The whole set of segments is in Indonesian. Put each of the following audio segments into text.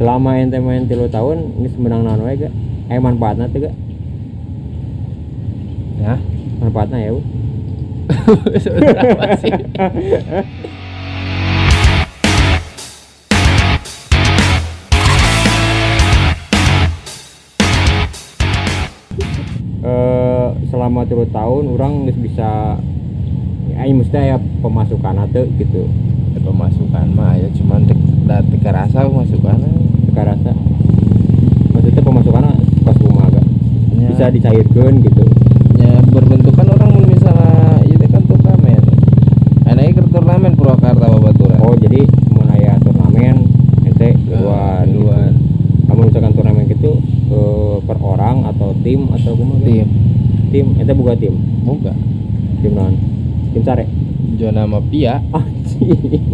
selama ente main tilu tahun ini sebenang naon wae gak eh manfaatnya tuh gak ya manfaatnya ya Bu. Apa sih? eh selama tilu tahun orang nggak bisa ayo mesti ya pemasukan atau gitu Ya, pemasukan mah ya cuman dek da- teu kerasa pemasukan sekarang rasa maksudnya pemasukan pas rumah agak Ya. bisa dicairkan gitu ya berbentukan orang mun misalnya itu kan turnamen ada ke turnamen Purwakarta babaturan oh jadi mulai ya turnamen ente Ah, dua dua duluan kamu misalkan turnamen gitu eh, per orang atau tim atau kumaha gitu? tim tim ente buka tim buka tim non tim sare zona mafia anjing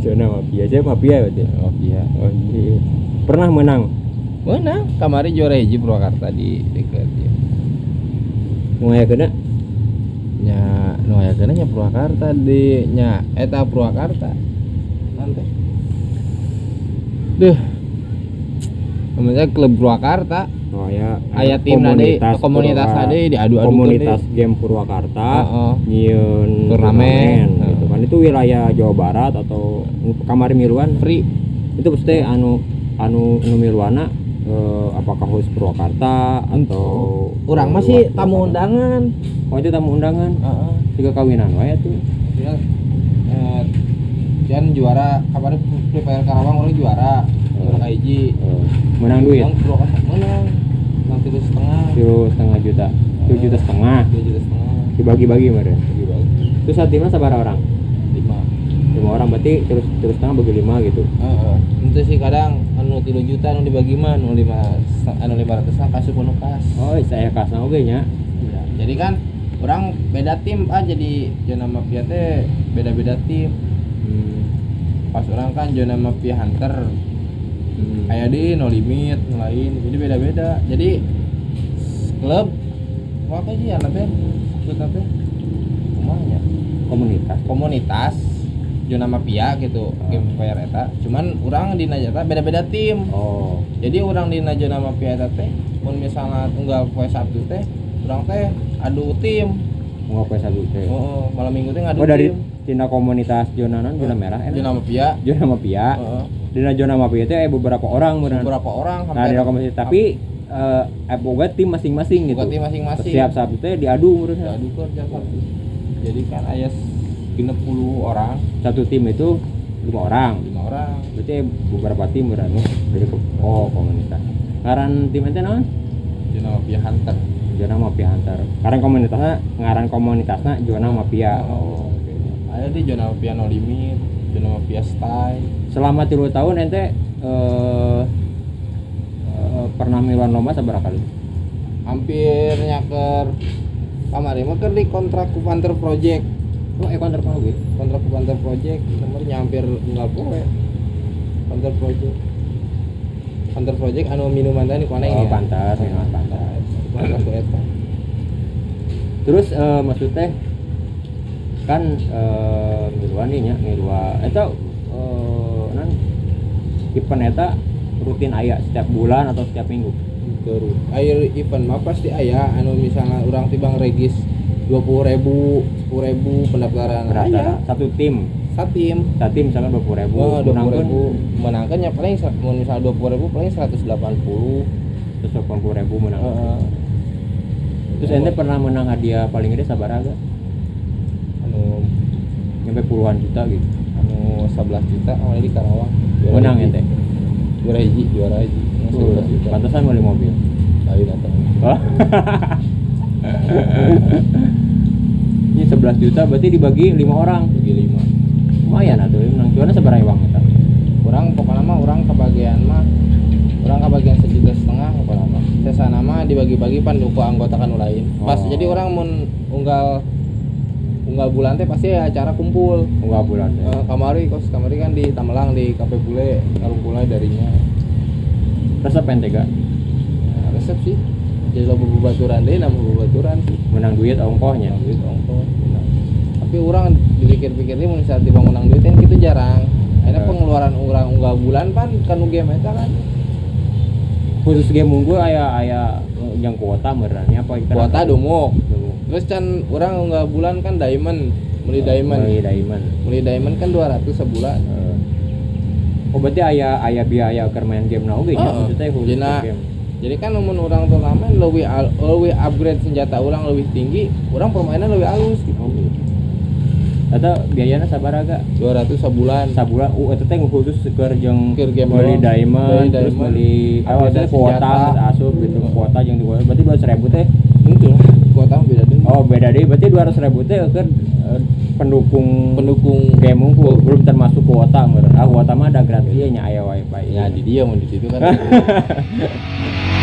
zona mafia aja mafia ya berarti mafia anjing pernah menang mana kamari juara hiji Purwakarta di dekat ya mulai kena nya nu aya kana nya Purwakarta di nya eta Purwakarta nanti deh namanya klub Purwakarta oh ya aya tim nade komunitas Purwa- nade Ah, diadu-adu komunitas game Purwakarta Heeh. nyiun Turnamen. Iya, nah. gitu kan itu wilayah Jawa Barat atau kamar miluan free itu pasti anu anu anu miluana eh, apakah host Purwakarta atau orang luar masih Purwakarta? tamu undangan oh itu tamu undangan Heeh. tiga kawinan wae tuh uh, dan juara kemarin Free Fire Karawang orang juara orang hiji Eh, menang duit Yang kan, Purwakarta menang nanti itu setengah Suruh setengah juta tujuh juta setengah dua juta setengah dibagi-bagi meren lebih bagus terus saat timnya sabar orang lima lima orang berarti terus terus setengah bagi lima gitu Heeh. itu sih kadang anu tiga juta anu dibagi mah anu lima anu lima ratus kasih penuh kas oh saya kasna oge nya Ya, jadi kan orang beda tim ah jadi zona mafia teh beda beda tim Hmm. pas orang kan zona mafia hunter Hmm. kayak di no limit no lain jadi beda beda jadi s- klub wah kayak sih anak teh klub apa kumanya komunitas komunitas zona mafia gitu Ah. game player eta cuman orang di najata beda beda tim oh jadi orang di zona mafia eta teh pun misalnya tunggal poe sabtu teh orang teh adu tim nggak kuasa satu teh oh, malam minggu teh ngadu oh dari tim tina komunitas zona non zona merah Ah. eh, Oh, zona mafia zona mafia Heeh. dina zona mafia itu eh, beberapa orang meureun. beberapa orang nah hampir dina komunitas tapi eh eh, boga tim masing-masing gitu buka tim masing-masing setiap sabtu teh diadu meureun. adu keur tiap Sabtu. jadi kan aya 60 orang satu tim itu lima orang lima orang berarti eh, beberapa tim berani dari ke oh komunitas ngaran tim ente naon zona mafia hunter zona mafia hunter ngaran komunitasnya ngaran komunitasnya zona mafia oh. ada di zona mafia no limit zona mafia style selama tiga tahun ente eh, eh, pernah miluan lomba seberapa kali hampir nyaker kamari mah keur di kontrak ku Panther project oh ekon terpau gitu kontrak ku Panther project nomornya hampir tinggal poe Panther project Panther project anu minuman tadi ku aneh Oh, ya Panther, minuman Panther. Panther ku eta terus eh, maksud teh kan eh, miluan nih ya miluan itu eh, non event eta rutin aya setiap bulan atau setiap minggu Terus air event mah pasti aya anu misalnya orang tibang regis 20.000 ribu, ribu pendaftaran Rata-rata Aya, satu tim satim Eh, satu tim misalnya Iya. Ah, dua puluh ribu Wah, 20.000 menangkan ya paling sa- mun misalnya 20.000 paling 180. terus delapan puluh ribu menang Heeh. terus ente pernah menang hadiah paling gede sabar agak anu nyampe puluhan juta gitu anu 11 juta awalnya di Karawang. Juara menang hiji. ente Juara hiji, juara hiji. Yang Tuh, 11 juta. pantesan beli mobil Lain atau Hah? ini 11 juta berarti dibagi lima orang bagi lima. lumayan atuh menang cuannya seberapa bang eta? Orang pokoknya mah orang kebagian mah orang kebagian sejuta setengah pokoknya mah. Sesana mah dibagi-bagi panduku anggota kan lain. Pas Oh. jadi orang mun unggal unggal bulan teh pasti acara kumpul. enggak bulan teh Eh, kamari kos kamari kan di Tamelang di Kafe Bule karungkulai darinya resep ente gak Nah, resep sih jadi lo bebaturan deh nama bebaturan sih Gitu, menang duit ongkohnya Menang duit ongkos menang. tapi orang dipikir-pikir nih misalnya tiba menang duit kan kita jarang Ada pengeluaran orang unggah bulan pan kan nu game eta kan. khusus game unggul ayah ayah eh, yang kuota merahnya Kan apa kita Kuota dumuk. Dumuk. Terus can orang unggah bulan kan diamond, Eh, beli diamond. beli diamond Beli diamond kan 200 sebulan. Eh. oh berarti ayah ayah biaya ke main game nah oke Oh, maksudnya khusus jena. ke game Jadi kan namun orang turnamen lebih al- lebih upgrade senjata orang lebih tinggi, orang permainan lebih halus gitu. oh, gitu. atau biayanya sabar agak 200 sebulan. sabulan uh itu teh khusus keur jeung Keur game beli doang. diamond Beli terus diamond. beli Upgrade awalnya kuota senjata. terus asup gitu Hmm. kuota yang di berarti dua ribu teh muncul Kuota mah beda deh. oh beda deh berarti dua ribu teh keur eh, pendukung Pendukung game unggul, belum termasuk kuota iya, Iya, meureun ah kuota mah ada gratis nya aya wifi ya di dia mau di situ kan.